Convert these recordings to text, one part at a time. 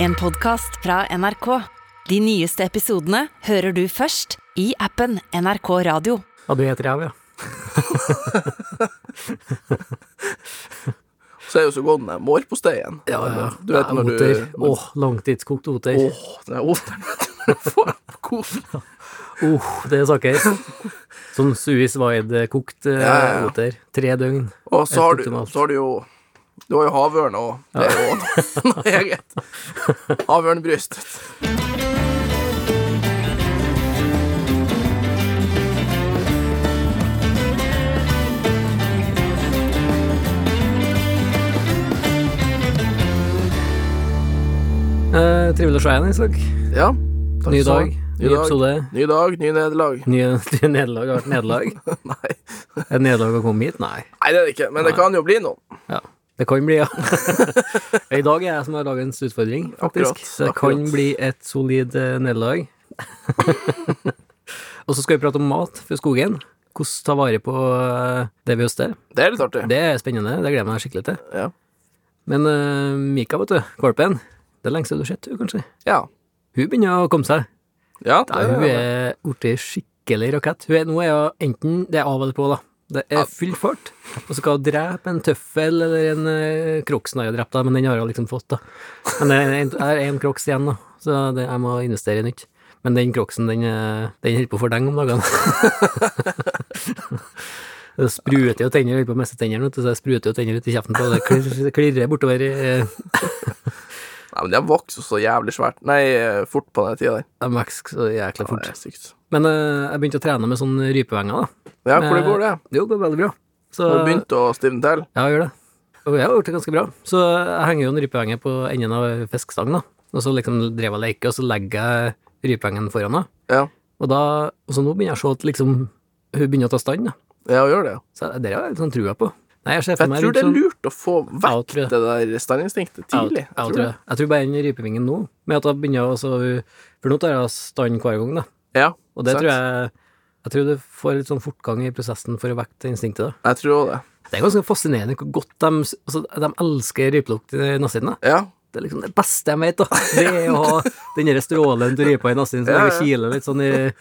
En podcast fra NRK. De nyeste episodene hører du først i appen NRK Radio. Ja, du heter Jav, ja. Så er jo så god den der mårposteien. Du vet når du Oter. når- Åh, langtidskokt oter. Åh, Åh, den der oteren, vet du. Du får den på kosen. det er saker. Sånn suicide-kokt eh, Ja, ja, ja. oter. Tre døgn. Og så har, du, Helt optimalt. så har du jo Du har jo havørn og Det er jo noe- noe eget. Havørnbryst. Eh, trivelig å se igjen, Isak. Ja. takk Ny skal du ha. dag, ny episode. Ny dag, ny nederlag. Ny ny nederlag har vært nederlag. Nei. Et nederlag å komme hit? Nei. Nei, det er det ikke. Men det kan jo bli noe. Ja. Det kan bli, ja. I dag er jeg som har dagens utfordring, faktisk. Akkurat, så det akkurat. kan bli et solid eh, nederlag. og så skal vi prate om mat fra skogen. Hvordan ta vare på eh, det vi høster. Det er litt artig. Det er spennende, det gleder jeg meg skikkelig til. Ja. Men eh, Mika, vet du, valpen, det er lenge siden du har sett henne, kanskje? Ja. Hun begynner å komme seg. ja Nei, hun er blitt skikkelig rakett. Hun er, nå er hun enten det er av eller på, da. Det er full fart, og så skal hun drepe en tøffel eller en uh, crocs. Nei, jeg drept da, men den har hun liksom fått, da. Men det er en- det er én crocs igjen, da, så det, jeg må investere i nytt. Men den crocsen, den, eh, den holder på å fordenge om dagene. Det spruter jo tenner, holder på å miste tennene, vet du, så det spruter jo tenner ut i kjeften på henne. Det klirrer- klirrer bortover i eh, Nei, men de vokser så jævlig svært. Nei, eh, fort på den tida der. De vokser så jækla Ja, det er fort. sykt. Men eh, jeg begynte å trene med sånn rypevenger, da. Ja, hvordan Eh, går det? Jo, det går veldig bra. Så, Har du begynt å stivne til? Ja, jeg gjør det. Og jeg har gjort det ganske bra. Så jeg henger jo en rypehenger på enden av fiskestang, da. Og så liksom drev jeg og leker, og så legger jeg rypehengen foran henne. Ja. Og da, og så nå begynner jeg å se at liksom, hun begynner å ta stand, da. Ja, gjør det. Så det har jeg litt sånn trua på. Nei, jeg ser for Jeg meg tror det er sånn- lurt å få Ja, jeg vekk tror det. det der standinstinktet tidlig. Jeg, tror det. jeg tror bare den rypevingen nå, med at hun begynner å så- For nå tar jeg stand hver gang, da. Ja, Og det sant. tror jeg Jeg tror det får litt sånn fortgang i prosessen for å vekke det instinktet, da. Jeg tror også det. Det er ganske fascinerende hvor godt de, altså, de elsker rypelukt i nassiden, da. Ja. Det er liksom det beste jeg vet, da. Det er å ha den der strålen til rypa i nassen som Ja, ja. ligger og kiler litt sånn i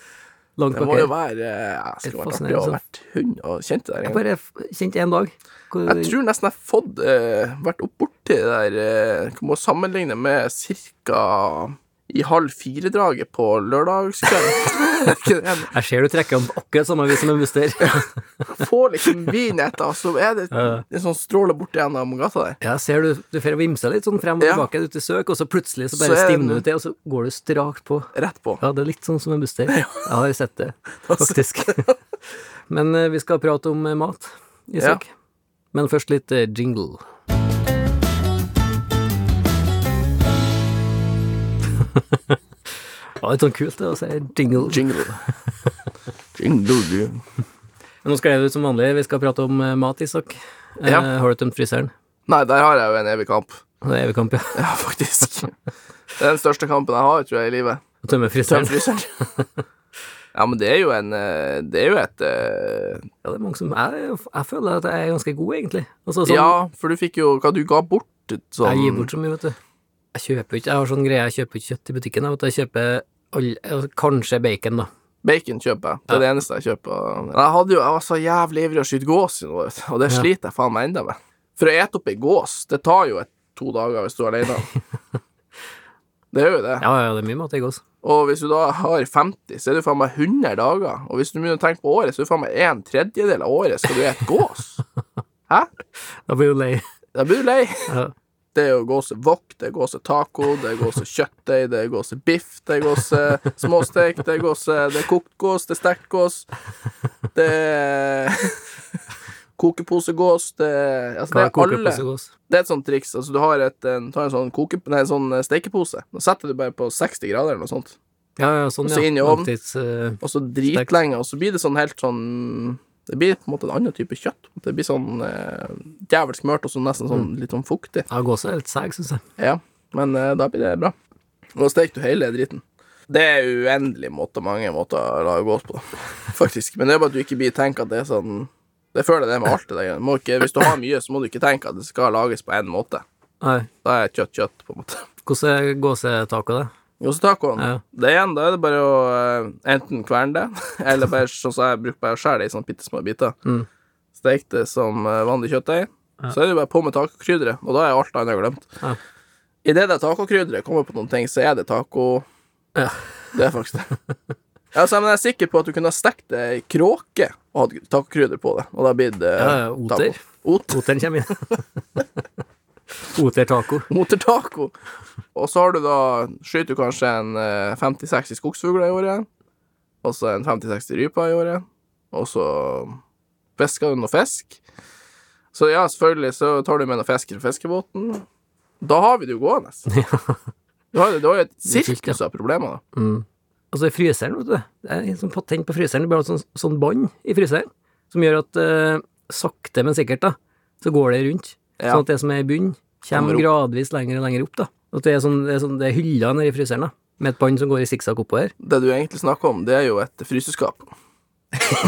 langt Det må jo bak her. være eh, Jeg skulle vært artig fascinerende, å ha sant? vært hund og kjent det der. Jeg en gang. bare f- kjente en dag hvor Jeg tror nesten jeg har fått eh, vært opp borti det der eh, jeg Må sammenligne med cirka i halv fire-draget på lørdagskvelden. Er ikke det en- jeg ser du trekker den på akkurat samme vis som en buster. Får liksom vinhetta, så er det Ja. en sånn stråle borti gjennom gata der. Ja, ser du, du får vimse litt sånn frem og Ja. tilbake ut i søk, og så plutselig så Så bare er den- stivner du til, og så går du strakt på. Rett på. Ja, det er litt sånn som en buster. Jeg har sett det, faktisk. Men eh, vi skal prate om eh, mat, Isak. Men først litt eh, jingle. Det var litt sånn kult det, å si jingle. Jingle. Jingle, du. Men nå skal jeg ut som vanlig. Vi skal prate om eh, mat, Isak. Eh, Ja. Har du tømt fryseren? Nei, der har jeg jo en evig kamp. Det er evig kamp, ja. Ja, faktisk. Det er den største kampen jeg har, tror jeg, i livet. Å tømme Tøm fryseren. fryseren. Ja, men det er jo en eh, Det er jo et eh, Ja, det er mange som jeg, jeg føler at jeg er ganske god, egentlig. Altså, sånn, Ja, for du fikk jo Hva du ga bort? Sånn Jeg gir bort så mye, vet du. Jeg kjøper ikke, jeg har sånn greie, jeg kjøper ikke kjøtt i butikken. Jeg, vet, du. jeg kjøper all, altså, kanskje bacon, da. Bacon kjøper jeg. Det er det eneste jeg kjøper. Men Jeg, hadde jo, jeg var så jævlig ivrig å skyte gås, i noe, vet du, og det Ja. sliter jeg faen meg enda med. For å ete opp ei gås, det tar jo et, to dager hvis du er alene. Det gjør jo det. Ja, ja, det er mye mat i gås. Og hvis du da har 50, så er det faen meg 100 dager. Og hvis du begynner å tenke på året, så er det faen meg en tredjedel av året skal du ete gås. Hæ? Da blir du lei. Da blir du lei. Ja. Det er jo gåsewok, det er gåsetaco, det er gåsekjøttdeig, det er gåsebiff, det er gåsesmåstek, det er gåse... Det er kokt gås, det er stekt gås, det er kokeposegås, det er Altså, Hva det er er alle kokepose gås? Det er et sånt triks. Altså, du har et, en, tar en sånn, koke, nei, en sånn stekepose, og setter du bare på 60 grader eller noe sånt, Ja, ja, sånn, Og så ja. inn i ovnen. Langtids, eh, og så dritlenge, og så blir det sånn helt sånn det blir på en måte en annen type kjøtt. Det blir sånn eh, djevelsk mørt og så nesten sånn litt sånn fuktig. ja, gås er litt seig, syns jeg. Ja, men eh, da blir det bra. Og da steker du hele driten. Det er uendelig måter, mange måter å lage gås på, faktisk. Men det er bare at du ikke blir tenker at det er sånn Det føler jeg det er med alt det der. Du Må ikke, hvis du har mye, så må du ikke tenke at det skal lages på én måte. Nei. Da er kjøtt kjøtt, på en måte. Hvordan er gåsetaket, da? Gåsetacoen. Ja. Det igjen, da er det bare å eh, enten kverne det, eller bare sånn som jeg bruker, bare skjære det i sånne bitte små biter. Mm. Steke det som eh, vanlig kjøttdeig. Så er det jo bare på med tacokrydderet, og da er alt annet glemt. Ja. I det det tacokrydderet kommer på noen ting, så er det taco. Ja. Det er faktisk det. Altså, men jeg er sikker på at du kunne ha stekt det i kråke og hatt tacokrydder på det, og da blir det eh, Ja, ja, oter. taco. Ot. Oteren kommer inn. Otertaco. Motortaco. Og så har du da Skyter du kanskje en eh, 50-60 skogsfugler i året. Og så en 50-60 ryper i året. Og så fisker du noe fisk. Så ja, selvfølgelig så tar du med noe fisk fra fiskebåten. Da har vi det jo gående. Du har, du har jo et Fullt, sirkus av problemer, da. Mm. Altså i fryseren, vet du. Det er en sånn patent på fryseren. Det blir altså sånn, sånn bånd i fryseren som gjør at eh, sakte, men sikkert, da, så går det rundt. Ja. Sånn at det som er i bunnen, Kommer kommer opp. gradvis lenger og lenger opp, da. At det er sånn, det er, sånn, det er hylla nedi fryseren, da. Med et bånd som går i sikksakk oppover. Det du egentlig snakker om, det er jo et fryseskap.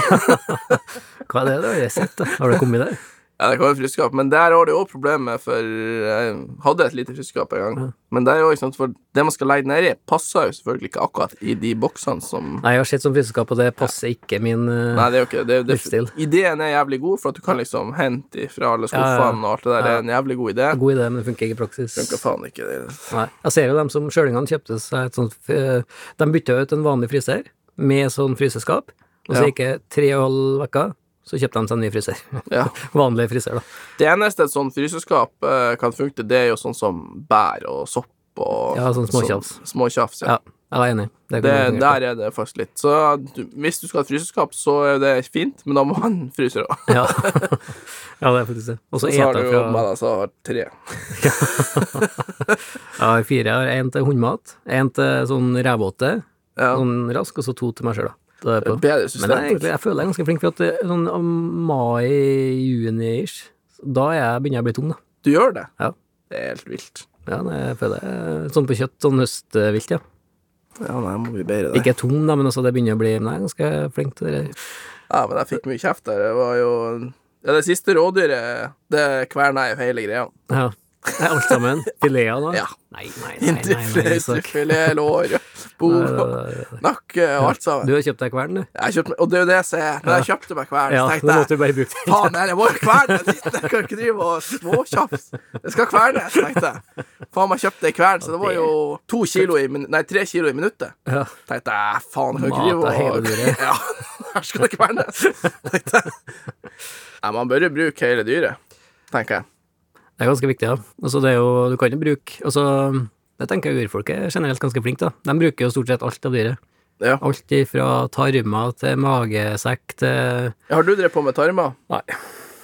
Hva er det, da? Har jeg sett, da? Har det kommet der? Ja, det kan være fryseskap, men der har du òg problemet, for jeg hadde et lite fryseskap en gang. Men der også, ikke sant, for det man skal legge nedi, passer jo selvfølgelig ikke akkurat i de boksene som Nei, jeg har sett sånn fryseskap, og det passer ikke min eh, Nei, det er jo ikke det. det, det Livsstil. ideen er jævlig god, for at du kan liksom hente ifra ja, alle ja. skuffene og alt det der. Det Ja. er en jævlig god idé. God idé, men det funker ikke i praksis. Funker faen ikke det. Nei. Jeg ser jo dem som sjølingene kjøpte seg et sånt eh, De bytta ut en vanlig fryser med sånn fryseskap, og så Ja. gikk det tre og en halv uke, så kjøpte de seg en ny fryser. Ja. vanlig fryser, da. Det eneste et sånt fryseskap eh, kan funke til, det er jo sånn som bær og sopp og Ja, sånn småtjafs. sånn Småtjafs, ja. Ja, jeg var enig. Det Det, kunne fungert. der er det faktisk litt. Så du, hvis du skal ha et fryseskap, så er det fint, men da må han fryse òg. Ja. ja, det er faktisk det. Og så Så har eter du jeg jo fra meg, da, så har tre. Jeg har fire. Jeg har én til hundmat, én til sånn revåte, Ja. sånn rask, og så to til meg sjøl, da. Da er jeg på. Bedre system. Men jeg, er egentlig, jeg føler jeg er ganske flink, for at det er sånn om mai-juni-ish, da er jeg, begynner jeg å bli tom, da. Du gjør det? Ja. Det er helt vilt. Ja, nei, jeg føler jeg Sånn på kjøtt, sånn høstvilt, ja. Ja, nei, jeg må bli bedre der. Ikke tom, da, men altså det begynner å bli Nei, jeg er ganske flink til det. Ja, men jeg fikk mye kjeft der. Det var jo ja, Det siste rådyret, det kverna jeg jo hele greia. Ja. Det er alt sammen. Fileter nå? Ja. Nei, nei, nei. nei, nei, Indrefilet, Isak. strupefilet, lår, Nei, bov, nei, nei. nakke og alt sammen. Du har kjøpt deg kvern, du? Jeg kjøpte, meg- og det er jo det jeg ser. Men jeg kjøpte meg kvern, Ja, så nå måtte tenkte jeg du bare bruke den. Faen, jeg må jo kverne! den dritten. Jeg kan ikke drive og småtjafs. Jeg skal kverne, tenkte jeg. Faen, jeg kjøpte ei kvern, så det var jo to kilo i min- Nei, tre kilo i minuttet. Ja. Tenkte jeg, faen, jeg kan Mat av ikke drive hele og dyret. Ja, her skal det kvernes, tenkte jeg. Nei, man bør jo bruke hele dyret, tenker jeg. Det er ganske viktig, ja. Altså, det er jo Du kan jo bruke Altså, det tenker jeg urfolket er generelt ganske flinke, da. De bruker jo stort sett alt av dyret. Ja. Alt ifra tarmer til magesekk til Har du drevet på med tarmer? Nei.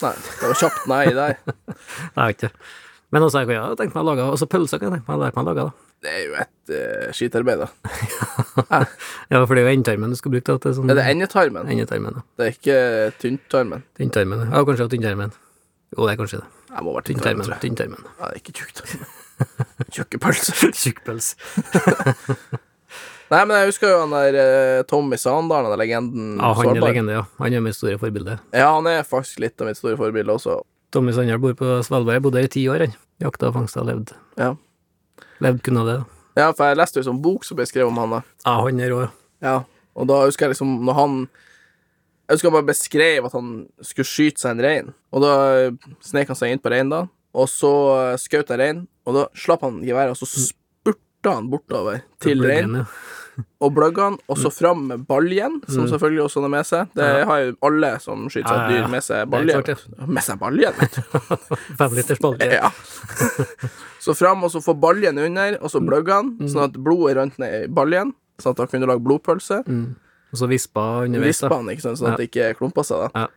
Nei, det var kjapt nei der. Nei, jeg vet ikke. Men også, jeg kunne tenkt meg å lage Også pølser kan jeg tenke meg å lære meg å lage, da. Det er jo et eh, skitarbeid, da. Ja, for det er jo endetarmen du skal bruke. Da, til sånn, Er det endetarmen? endetarmen, ja. Det er ikke tynntarmen. Tynntarmen. ja. Ja, kanskje tynntarmen. Jo, det er kanskje det. Jeg må være tynntarmen, Tynntarmen. tror Tynntarmen. jeg. Ja, det er ikke tjukktarmen. Tjukkepølse. Tjukkpøls. Nei, men jeg husker jo han der eh, Tommy Sandalen, den legenden. Ja, han er Svalbard. legende, ja. Han er mitt store forbilde. Ja, han er faktisk litt av mitt store forbilde også. Tommy Sandal bor på Svalbard. Bodde her i ti år, han. Jakta og fangsta og levd. Ja. Levd kun av det, da. ja, for jeg leste jo en bok som ble skrevet om han, da. Ja, han er rå, ja. Ja, og da husker jeg liksom Når han Jeg husker han bare beskrev at han skulle skyte seg en rein Og da snek han seg inn på rein da Og så eh, skjøt han rein Og da slapp han geværet Og så Mm. spurta han bortover til Blir han, rein ja. Og bløgga han Og så fram med baljen Som selvfølgelig også han har med seg Det Mm. Ja. har jo alle som skyter seg Ja, et ja, ja. dyr med seg Det er baljen klart, ja. Med seg baljen, vet du Femliters balje. Ja Så fram og så få baljen under Og så Mm. bløgga han Sånn at blodet rønt ned i baljen Sånn at han kunne lage blodpølse Og så vispa underveis, Vispa da. han, ikke sant, sånn Ja. at det ikke klumpa seg. da Ja.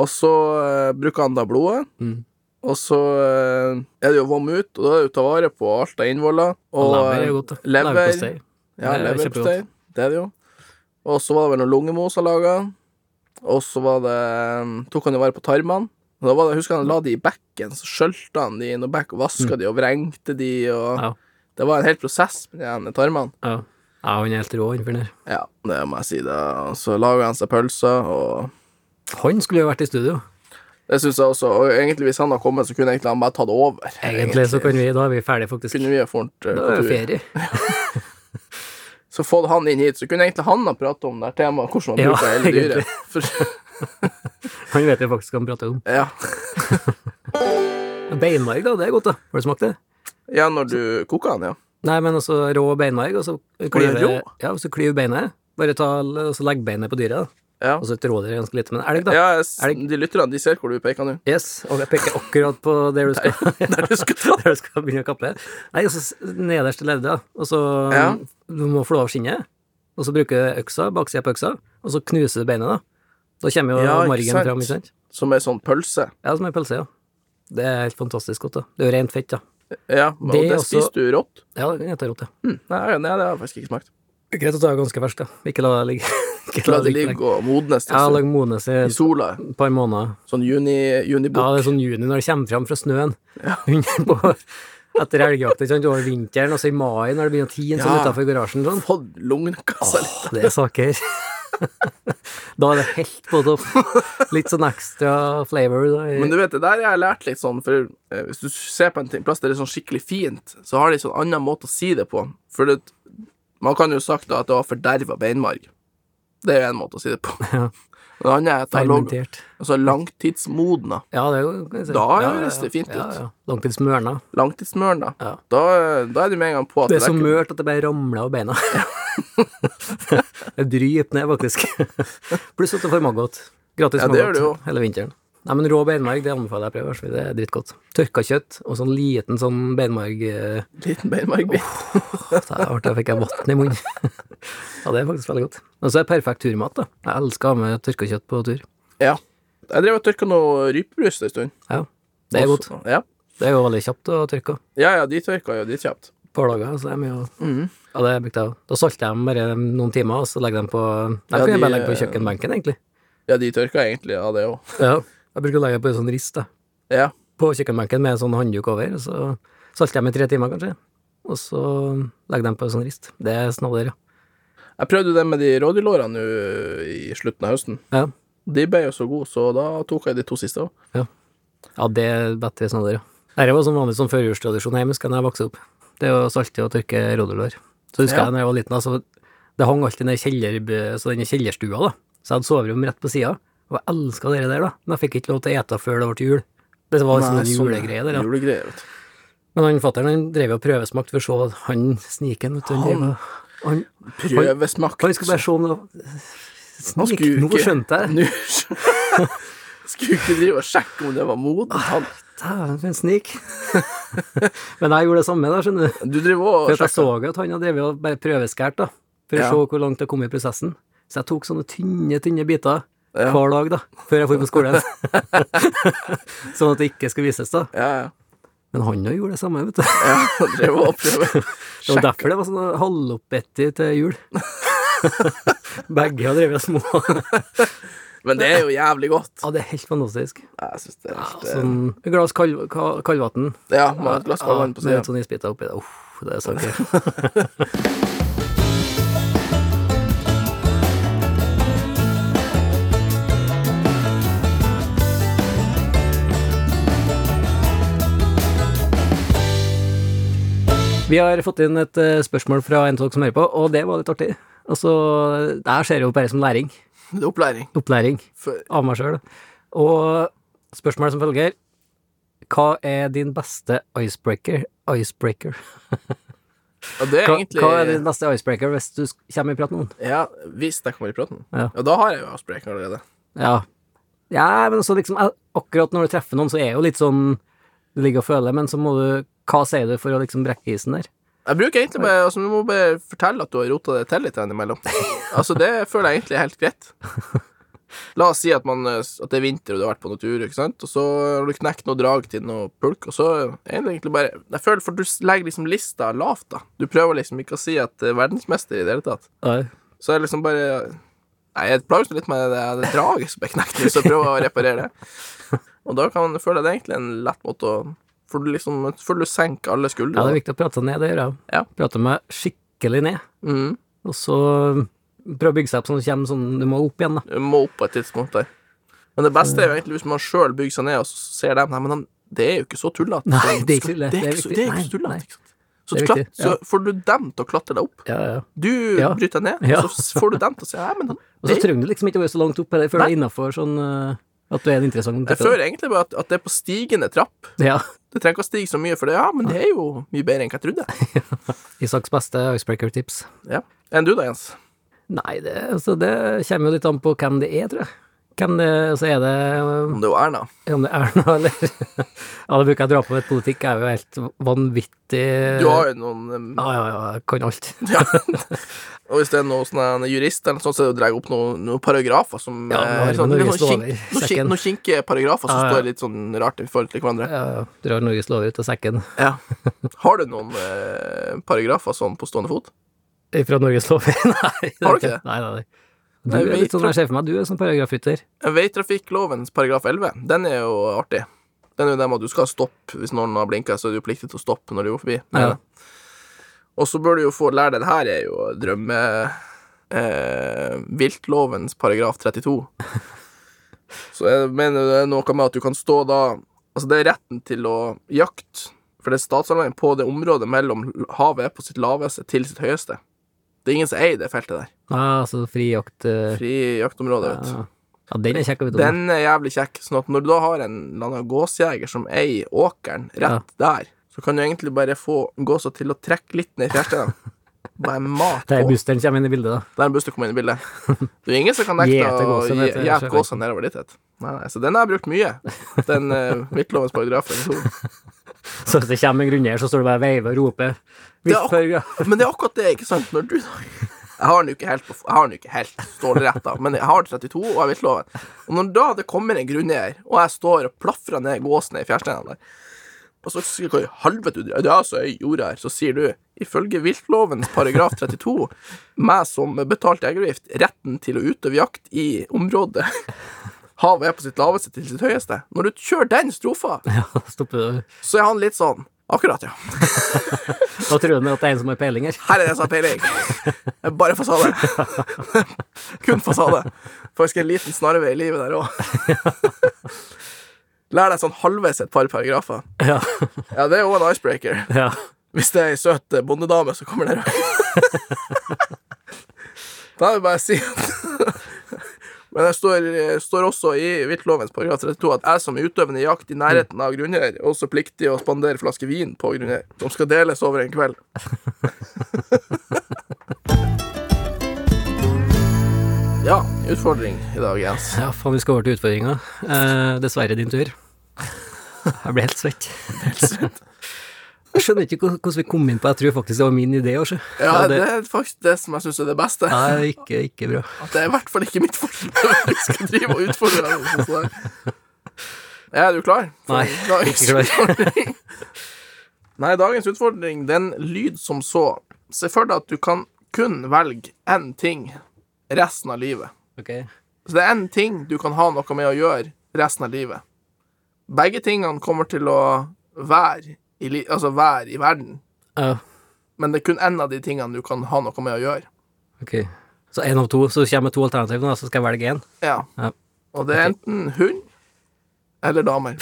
Og så eh, bruker han da blodet, Mm. og så eh, er det jo vom ut, og da er det jo ta vare på alt av innvoller. Og Og lever er jo godt, da. lever. Leverpostei. ja, Det er leverpostei. Det er det jo. Og så var det vel noe lungemos han laga. Og så var det eh, tok han jo vare på tarmene. Og da var det, jeg husker han la de i bekken, så skjølte han de i noe bekk og vaska de og vrengte de og Mm. Ja. Det var en hel prosess med de her tarmene. Ja. ja, han er helt rå, han fyren der. Ja, det må jeg si. da Og så laga han seg pølser og Han skulle jo vært i studio. Det synes jeg også. Og egentlig, hvis han hadde kommet, så kunne egentlig han bare tatt over. Egentlig så kan vi, da er vi ferdige, faktisk. Kunne vi ha fort, eh, Da fått er ut. det ferie. Så fått han inn hit, så kunne egentlig han ha pratet om det her temaet, hvordan han Ja, bruker hele egentlig. dyret. For, Han vet jo faktisk hva han prater om. ja. Beinmarg, da. Det er godt, da. Har du smakt det? ja, når du koker han, ja. Nei, men altså rå beinmarg, og så klyver rå? ja, og så klyver beinet. Bare ta, og så legg beinet på dyret. da. Ja, Altså et rådyr er ganske lite, men elg, da. ja jeg s- Er det- de lytterne, de ser hvor du peker nå. Yes, og jeg peker akkurat på der du skal, Der du skal ta. der du skal begynne å kappe. Nei, altså s- nederst til leddet, da. og så Ja. du må flå av skinnet, og så bruker du øksa, baksida på øksa, og så knuser du beinet, da. Da kommer jo Ja, ikke margen sant. fram, ikke sant? Som er sånn pølse. Ja, som en pølse, ja. Det er helt fantastisk godt, da. Det er jo rent fett, da. Ja, og Det det, er også- spiser du rått. Ja, det kan jeg ta rått, ja. Hm, Nei, nei, det har jeg faktisk ikke smakt. Greit å ta ganske ferskt, da. Ikke la det ligge. Ikke La det ligge og modnes Ja, til lag modnes i i sola. et par måneder. Sånn juni, Ja, junibok. det er sånn juni når det kommer fram fra snøen. Under på, etter elgjakt, ikke sant, over vinteren, og så i mai når det begynner å tine sånn Ja. utafor garasjen. Sånn. Fått lungekassa litt. Åh, det er saker. da er det helt på topp. Litt sånn ekstra flavor. Da. i- Men du vet, det der jeg har lært litt sånn, for eh, hvis du ser på en ting, plass der det er sånn skikkelig fint, så har de sånn annen måte å si det på. For det, man kan jo sagt da at det var forderva beinmarg. Det er jo en måte å si det på. Ja. Den andre er at det har ligget- Fermentert. altså langtidsmodna. Ja, det er jo kan jeg si. Da høres det fint ut. Ja, ja. Langtidsmørna. Langtidsmørna. Ja. Da, da er du med en gang på at Det er så ikke- mørt at det bare ramler av beina. det dryper ned, faktisk. Pluss at det får maggot. Gratis Ja, det gjør maggot det jo. hele vinteren. Nei, men Rå beinmarg det anbefaler jeg å prøve. altså. Det er drittgodt. Tørka kjøtt og sånn liten sånn beinmarg eh, Liten beinmargbit. så jeg- artig, jeg fikk jeg vann i munnen. ja, det er faktisk veldig godt. Og så er det perfekt turmat. da. Jeg elsker å ha med tørka kjøtt på tur. Ja. Jeg drev og tørka noe rypebrust en stund. Ja, Det er godt. Også- Ja. Det er jo veldig kjapt å tørke. ja, ja, de tørka jo de kjapt. Et par dager, så er det mye å Mhm. Ja, det brukte jeg òg. Da salter jeg dem bare noen timer, og så legger jeg dem på Nei, Ja, kan jeg de, bare legge på eh, kjøkkenbenken, egentlig. Ja, de tørka egentlig av det òg. Ja, jeg bruker å legge på en sånn rist da. Ja. på kjøkkenbenken med en sånn håndduk over, og så salter jeg dem i tre timer, kanskje. Og så legger dem på en sånn rist. Det er snadder, ja. Jeg prøvde det med de rådyrlårene nå i slutten av høsten. ja. De ble jo så gode, så da tok jeg de to siste òg. Ja, det er bedre snadder, ja. Dette var som vanlig sånn førjulstradisjon hjemme, husker jeg, da jeg vokste opp. Det å salte og tørke rådyrlår. Så husker Ja. jeg da jeg var liten, altså, det hang alltid ned i kjeller, så denne kjellerstua, da. Så jeg hadde soverom rett på sida, og jeg elska det der, da. Men jeg fikk ikke lov til å ete før det ble jul. Det var liksom en julegreie der, ja. sånn Julegreier, vet du. Men han fatter'n han drev og prøvesmakte for å se han sniken. Vet du, han, drev og- han, Prøvesmakt. han skulle bare se om det var Han Snik, skulle nå ikke- skjønte jeg det. Nå Skulle ikke drive og sjekke om det var modent. han. Dæven, for en snik. Men jeg gjorde det samme, da, skjønner du. Du driver òg For at og jeg sjekker. så at han hadde drevet og bare prøveskåret, da. For å Ja. se hvor langt det kom i prosessen. Så jeg tok sånne tynne, tynne biter Ja. hver dag, da. Før jeg dro på skolen. sånn at det ikke skulle vises, da. Ja, ja. Men han òg gjorde det samme, vet du. ja. Han drev og prøvde. Det var derfor det var sånn halvoppbetti til jul. Begge har drevet og små. Men det er jo jævlig godt. Ja, det er helt fantastisk. Jeg synes det er helt eh, Sånn, et glass kald, ka- kaldvann. Ja, man har et glass kald vann på Ja, Med litt sida. sånn isbiter oppi det. Uff, det er saker. Vi har fått inn et eh, spørsmål fra en av dere som hører på, og det var litt artig. Altså, det her ser jeg jo bare som læring. Det er opplæring. Opplæring For, av meg sjøl. Og spørsmålet som følger Hva er din beste icebreaker? Icebreaker. og det er Hva, egentlig hva er din beste icebreaker hvis du sk- kommer i prat med noen? Ja, hvis jeg kommer i praten. Ja. Ja. da har jeg jo avspreken allerede. Ja. ja, men så liksom eh, Akkurat når du treffer noen, så er jo litt sånn Du ligger og føler, men så må du Hva sier du for å liksom brekke isen der? Jeg bruker egentlig bare altså, Du må bare fortelle at du har rota det til litt innimellom. Altså, det føler jeg egentlig er helt greit. La oss si at, man, eh, at det er vinter og du har vært på noen tur, ikke sant? og så har du knekt noe drag til noe pulk, og så er det egentlig bare Jeg føler For du legger liksom lista lavt, da. Du prøver liksom ikke å si at det er verdensmester i det hele tatt. Så jeg liksom bare Nei, jeg plages litt med det, det draget som er knekt, nå, så jeg prøver å reparere det. Og da kan føler jeg det er egentlig en lett måte å For du liksom Føler du senker alle Ja, det skuldrene. er viktig å prate seg ned, det gjør jeg. Ja. Prate meg skikkelig ned, mm. og så prøve å bygge seg opp sånn, kommer sånn Du må opp igjen, da. Du må opp på et tidspunkt der. Men det beste er jo egentlig hvis man sjøl bygger seg ned, og så ser dem Nei, men han- det er jo ikke så tullete. Nei, Så- det er ikke tullete. Det Det er er ikke så- viktig. det er ikke Nei, så tullete. nei. ikke sant? Så, Det er du klat- viktig, ja. så får du dem til å klatre deg opp. Ja, ja. Du Ja. bryter deg ned, Ja. og så får du dem til å si Nei, men han Og så det- trenger du liksom ikke å være så langt opp heller før du Nei. er innafor sånn eh, at du er en interessant Jeg type, da. føler egentlig bare at, at det er på stigende trapp. Ja. Det trenger ikke å stige så mye, for det, ja, men det er jo mye bedre enn hva jeg trodde. Isaks beste icebreaker-tips. Ja. Enn du da, Jens? Nei, det, altså, det kommer jo litt an på hvem det er, tror jeg. Hvem det altså, er det eh, Om det er jo Erna. Om det er noe, eller Ja, det bruker jeg å dra på, men politikk er jo helt vanvittig Du har jo noen um, Ja, ja, ja, jeg kan alt. ja. Og hvis det er noen sånne jurister eller noe sånt, så er det å dra opp noen, noen paragrafer som Ja, eh, Norge- sånn, Norges litt sånn kink- lover, noen sekken. kink- Noen kinkige paragrafer som Ja, ja. står litt sånn rart i forhold til hverandre. Ja, ja, drar Norges lov ut av sekken. Ja. Har du noen eh, paragrafer sånn på stående fot? Fra Norges lov? Nei. Har du ikke det? Nei, nei, nei. Du Nei, er vi litt sånn tror- jeg ser for meg, du er sånn paragrafrytter. Veitrafikklovens paragraf 11, den er jo artig. Den er jo den med at du skal stoppe hvis noen har blinka, så er du pliktig til å stoppe når du går forbi. Ja. Og så bør du jo få lære det. Det her er jo drømme... Eh, viltlovens paragraf 32. Så jeg mener det er noe med at du kan stå da Altså, det er retten til å jakte, for det er statsallmenn på det området mellom havet på sitt laveste til sitt høyeste. Det er ingen som eier det feltet der. Ja, altså fri jakt eh, Fri jaktområde, vet du. ja. ja, den er kjekk å vite om. Den er jævlig kjekk. Sånn at når du da har en eller annen gåsjeger som eier åkeren rett der, så kan du egentlig bare få gåsa til å trekke litt ned i fjærsteinene. Bare mat Det er på. busteren kommer inn i bildet, da. Der er en buss som kommer inn i bildet. Det er ingen som kan Gjete nekte å gåsen, heter det, gjete sjøfolk. gåsa nedover dit. vet du. Nei, nei, så den har jeg brukt mye. Den uh, viltlovens paragraf 32. Så hvis det kommer en grunneier, så står du bare og veiver og roper. Hvis Ja. paragraf Men det er akkurat det, ikke sant? Når du da Jeg har den jo ikke helt, på, jeg har den jo ikke helt stålrett, da, men jeg har 32 og jeg viltloven. Og når da det kommer en grunneier, og jeg står og plafrer ned gåsen i fjærsteinene der, og så sier jeg, hva i helvete du driver Det er altså ei jord her. Så sier du, ifølge viltlovens paragraf 32, meg som betalt jegeravgift, retten til å utøve jakt i området havet er på sitt laveste til sitt høyeste. Når du kjører den strofa, Ja, stopper du. så er han litt sånn Akkurat, ja. Da tror du at det er en som har peiling her. Her er det som har peiling. Det er Bare fasade. Kun fasade. Faktisk en liten snarvei i livet der òg. Lær deg sånn halvveis et par paragrafer. Ja. Ja, det er jo en icebreaker. ja. Hvis det er ei søt eh, bondedame som kommer der Da vil jeg bare si at Men det står, eh, står også i viltlovens paragraf 32 at jeg som er utøvende i jakt i nærheten av grunneier, er også pliktig å spandere flaske vin på grunneier, som skal deles over en kveld. ja, utfordring i dag, Jens. Ja, faen, vi skal over til utfordringa. Eh, dessverre din tur. Jeg ble helt svett. Jeg skjønner ikke hvor- hvordan vi kom inn på Jeg tror faktisk det var min idé. Også. Ja, Ja, det det- er faktisk det som jeg syns er det beste. Nei, det er ikke, ikke bra. At det er i hvert fall ikke mitt forslag. Vi skal drive og utfordre deg. med sånt der. Er du klar? for Nei, dagens ikke klar. utfordring? Nei, dagens utfordring, den lyd som så. Se for deg at du kan kun velge én ting resten av livet. Ok. Så det er én ting du kan ha noe med å gjøre resten av livet. Begge tingene kommer til å være i, li altså være i verden, Ja, men det er kun én av de tingene du kan ha noe med å gjøre. ok. Så én av to. Så kommer det to alternativer, nå, så skal jeg velge én. Ja. Ja. Og det er enten hund eller damer.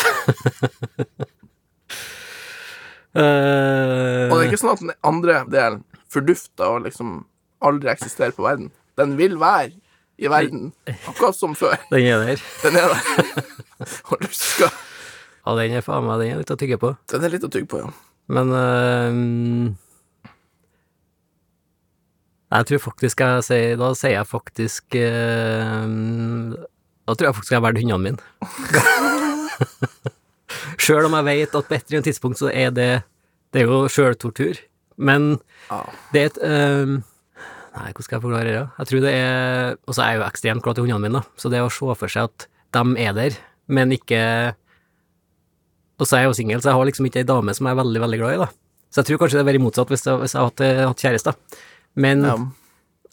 Eh, Og det er ikke sånn at den andre delen, fordufta og liksom aldri eksisterer på verden, den vil være i verden, akkurat som før. den er der. Den er der. Og du skal Ja, den er faen meg den er litt å tygge på. Den er litt å tygge på, ja. Men eh, Jeg tror faktisk jeg sier Da sier jeg faktisk eh, Da tror jeg faktisk jeg har valgt hundene mine. Sjøl om jeg vet at på et eller annet tidspunkt så er det Det er jo sjøltortur. Men ja. det er et eh, Nei, hvordan skal jeg forklare det? Jeg tror det er Og så er jeg jo ekstremt glad i hundene mine, da. Så det å se for seg at de er der, men ikke Og så er jeg jo singel, så jeg har liksom ikke ei dame som jeg er veldig, veldig glad i, da. Så jeg tror kanskje det hadde vært motsatt hvis jeg, hvis jeg hadde hatt- hatt kjæreste. Men ja.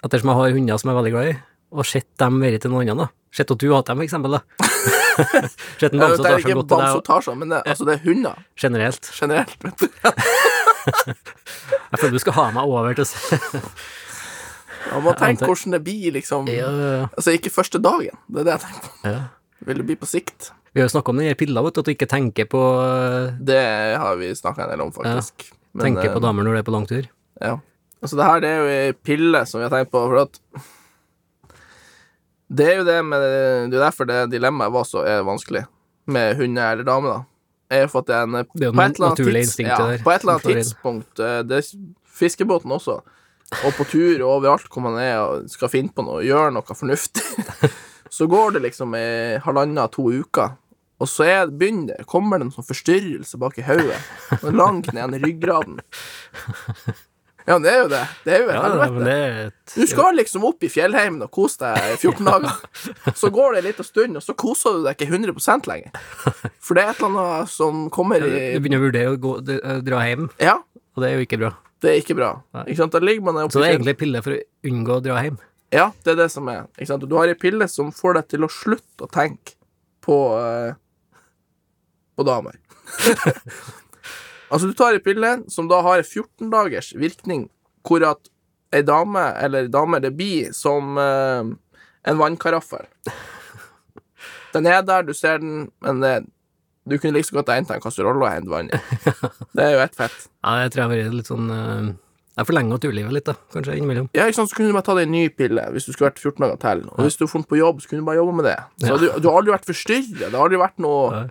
ettersom jeg har hunder som jeg er veldig glad i, og sett dem være til noen andre, da. Sett at du hatt dem, for eksempel, da. sett en Jeg vet, bamse det tar seg er ikke godt til deg, bamseotasjer, men det, altså, det er hunder og- generelt. generelt, vet du. Jeg føler du skal ha meg over til å se Og man Jeg tenker antar- hvordan det blir, liksom. ja, ja, ja. Altså, ikke første dagen. Det er det jeg tenker på. Ja. Vil du bli på sikt? Vi har jo snakka om den her pilla, vet du, at du ikke tenker på, Det har vi snakka en del om, faktisk. Men, tenker eh, på damer når du er på langtur. Ja. Altså, det her det er jo ei pille som vi har tenkt på, for at Det er jo det med Det er derfor det dilemmaet var så er vanskelig med hunder eller damer, da. Er jo for at det er en Det er jo på et eller annet naturlige tids- instinktet ja, der, På et eller annet som slår inn. tidspunkt eh, det, Fiskebåten også. Og på tur og overalt hvor man er og skal finne på noe, gjøre noe fornuftig, så går det liksom i halvannen to uker, og så er, begynner det, kommer det en sånn forstyrrelse bak i hodet, og langt ned i ryggraden. Ja, men det er jo det. Det er jo et Ja, helvete. men det er et Du skal liksom opp i fjellheimen og kose deg i 14 dager. Så går det en liten stund, og så koser du deg ikke 100 lenger. For det er et eller annet som kommer i Du begynner å vurdere å gå, d- å dra hjem, Ja, og det er jo ikke bra. det er ikke bra. Ikke sant? Da ligger man Så det oppe i er fjellet. egentlig piller for å unngå å dra hjem. Ja, det er det som er. Ikke sant? Og Du har ei pille som får deg til å slutte å tenke på eh, på damer. altså, du tar ei pille som da har 14 dagers virkning, hvor at ei dame eller damer det blir som eh, en vannkaraffel. Den er der, du ser den, men det, du kunne like så godt ha hentet en kasserolle og hentet vann i. Det er jo ett fett. Ja, jeg tror jeg har vært litt sånn eh, Jeg forlenger turlivet litt, da, kanskje, innimellom. Ja, ikke sant, så kunne du bare tatt en ny pille hvis du skulle vært 14 dager til. Og hvis du hadde funnet på jobb, så kunne du bare jobbe med det. Så du, du har aldri vært forstyrret. Det har aldri vært noe Nei.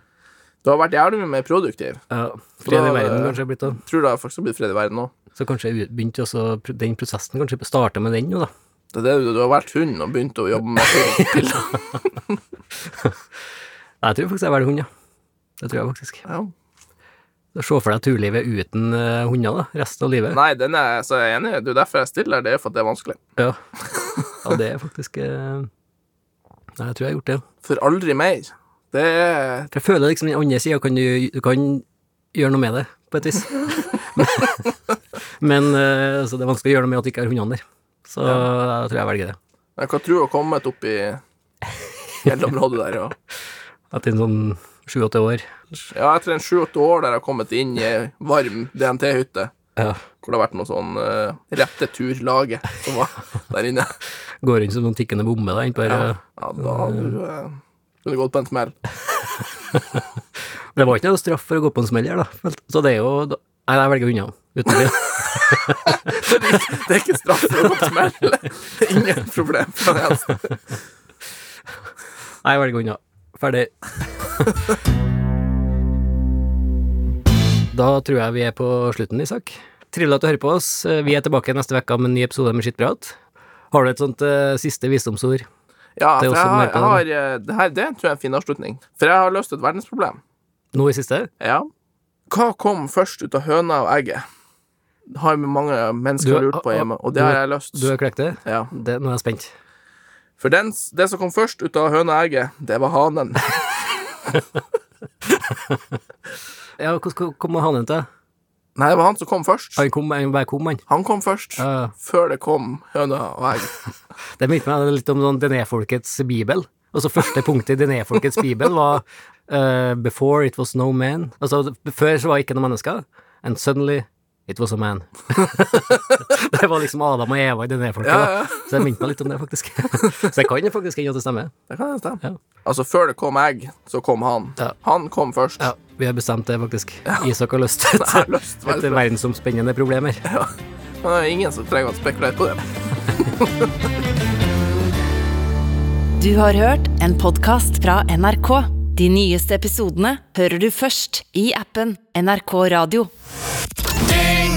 Du har vært jævlig mye mer produktiv. Ja, Fred da, i verden, eh, kanskje, blitt da. Tror det har faktisk blitt fred i verden nå. Så kanskje jeg begynte også pr- den prosessen, kanskje starte med den nå, da. Det er det du, du har vært hund og begynt å jobbe med piller. Nei, Jeg tror faktisk jeg velger hund, ja. Det tror jeg faktisk. Ja. Se for deg turlivet uten eh, hunder, da, resten av livet. Nei, den er så jeg er enig. Det er derfor jeg stiller, det er for at det er vanskelig. Ja. ja, det er faktisk eh, Nei, jeg tror jeg har gjort det. For aldri mer. Det er For jeg føler liksom den andre sida kan du, du kan gjøre noe med det, på et vis. Men eh, altså, det er vanskelig å gjøre noe med at du ikke har hundene der. Så jeg tror jeg velger det. Jeg kan tro å komme et opp i fjellområdet der. Og, Etter en sånn sju-åtte år. ja, etter en sju-åtte år der jeg har kommet inn i ei varm DNT-hytte. Ja. Hvor det har vært noe sånn uh, rette turlaget som var der inne. Går inn som noen tikkende bombe da, innpå her. eh. Ja, da hadde du eh, kunne gått på en smell. Men det var ikke noe straff for å gå på en smell her, da. Vel, Så det er jo da- Nei, jeg velger hundene. Uten tvil. Det er ikke straff for å gå på smell. Det er ingen problem. for det altså. eneste. Nei, jeg velger hundene. Ferdig. Da tror jeg vi er på slutten, Isak. Trivelig at du hører på oss. Vi er tilbake neste uke med en ny episode med Skittprat. Har du et sånt eh, siste visdomsord? Ja, Det er for også jeg har, mer på jeg har eh, det, her, det tror jeg er en fin avslutning. For jeg har løst et verdensproblem. Nå i siste? Ja. Hva kom først ut av høna og egget? Det har jo mange mennesker Du er- lurt på hjemme, og det du er- har jeg løst. Du har klekt det? Ja. det? Nå er jeg spent. For den, s- det som kom først ut av høna og egget, det var hanen. Ja, hvordan kom hanen til? Nei, det var han som kom først. Han kom, han bare kom, han. Han kom først. Ja, ja. Før det kom høna og egg. det minner meg litt om sånn Dené-folkets bibel. Altså første punktet i Dené-folkets bibel var eh, Before it was no man. Altså, før så var det ikke noen mennesker. And suddenly it was a man. det var liksom Adam og Eva i Dené-folket. Ja, da. ja. Så det minte meg litt om det, faktisk. så jeg kan jo faktisk ikke at det stemmer. Det kan jeg stemme. Ja. Altså, før det kom egg, så kom han. Ja. Han kom først. Ja, vi har bestemt det, faktisk. Isak har lyst til Jeg har lyst til å et være- verdensomspennende problemer. Men det er ingen som trenger å spekulere på det. Du har hørt en podkast fra NRK. De nyeste episodene hører du først i appen NRK Radio.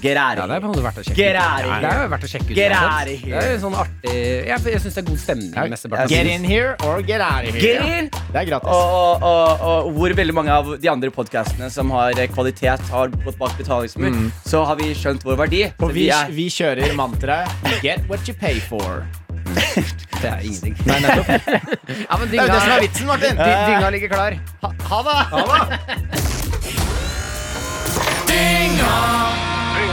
get out Ja, of det er på en here. måte verdt å sjekke Get ut. out of Ja, here. Det er verdt å sjekke ut. Get uansett. out of here. Det er sånn artig Jeg, jeg syns det er god stemning. mesteparten av Get tiden. in here or get out of here. Get in! Det er gratis. Og, og, og, og hvor veldig mange av de andre podkastene som har eh, kvalitet, har gått bak betalingsmur, Mm. så har vi skjønt vår verdi. og Så vi, er- vi kjører mantraet Get what you pay for. Det er ingenting. Nei, nettopp. ja, men Det er jo det som er dynga, vitsen, Martin. dy- dynga ligger klar. Ha det!